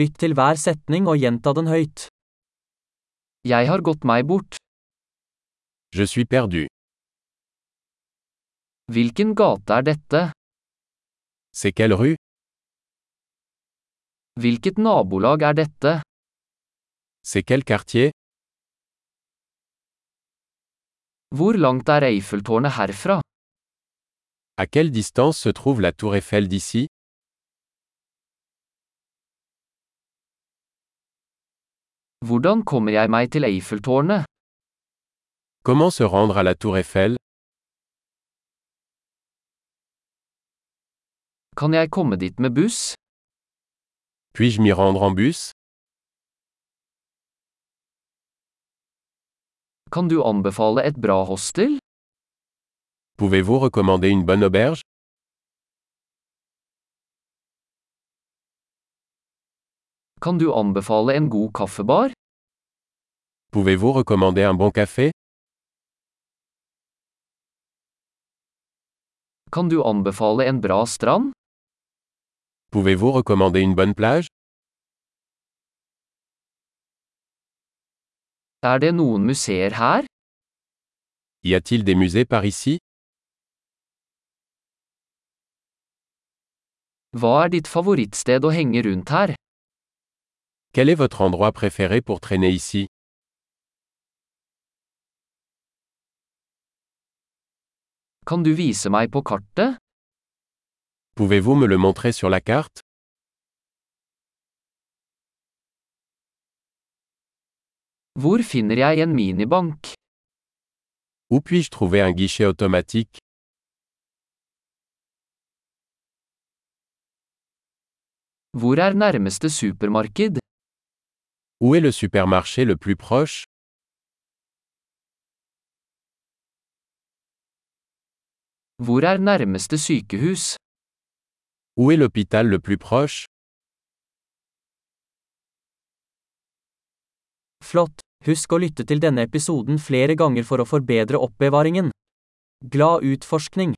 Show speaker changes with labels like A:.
A: Lytt til hver setning og gjenta den høyt. Jeg har gått meg bort.
B: Je suis perdu.
A: Hvilken gate er dette?
B: C'est quelle rue
A: Hvilket nabolag er dette?
B: C'est quel quartier
A: Hvor langt er Eiffeltårnet herfra?
B: À quelle distance se trouve la tour Eiffel d'ici
A: Hvordan kommer jeg meg til Eiffeltårnet?
B: Comment se rendre à la tour Eiffel
A: Kan jeg komme dit med buss?
B: Puis-je m'y rendre en bus
A: Kan du anbefale et bra hostel?
B: Pouvez-vous recommander une bonne auberge
A: Kan du anbefale en god kaffebar?
B: Pouvez-vous recommander un bon café
A: Kan du anbefale en bra strand?
B: Pouvez-vous recommander une bonne plage
A: Er det noen museer her?
B: Y a-t-il des musées par ici
A: Hva er ditt favorittsted å henge rundt her?
B: Quel est votre endroit préféré pour traîner ici
A: Kan du vise meg på kartet?
B: Pouvez-vous me le montrer sur la carte
A: Hvor finner jeg en minibank?
B: Où puis-je trouver un guichet automatique
A: Hvor er nærmeste supermarked?
B: Où est le supermarché le plus proche
A: Hvor er nærmeste sykehus?
B: Où est l'hôpital le plus proche
A: Flott! Husk å lytte til denne episoden flere ganger for å forbedre oppbevaringen. Glad utforskning!